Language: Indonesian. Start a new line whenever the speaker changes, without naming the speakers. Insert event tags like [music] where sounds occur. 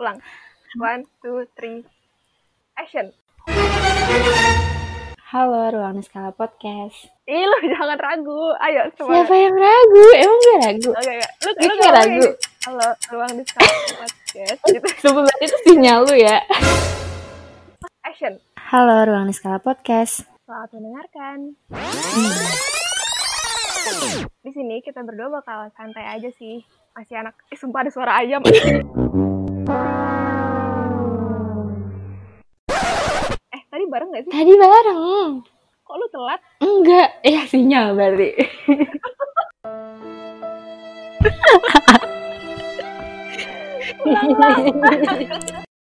Ulang. One, two, three. Action.
Halo, Ruang Neskala Podcast.
Ih, lu jangan ragu. Ayo, semua.
Siapa yang ragu? Emang gue ragu?
Oke, oke. Lu,
Gue
lu
kayak
ngomong
ragu.
kayak gini. Halo, ruang discuss podcast. Gitu.
[laughs] Sumpah berarti itu sinyal lu ya.
Action.
Halo, Ruang Neskala Podcast.
Selamat mendengarkan. Di sini kita berdua bakal santai aja sih. Masih anak. Eh, sumpah ada suara ayam. eh, tadi bareng gak sih?
Tadi bareng.
Kok lu telat?
Enggak. Ya, sinyal berarti.
Ulang, ulang.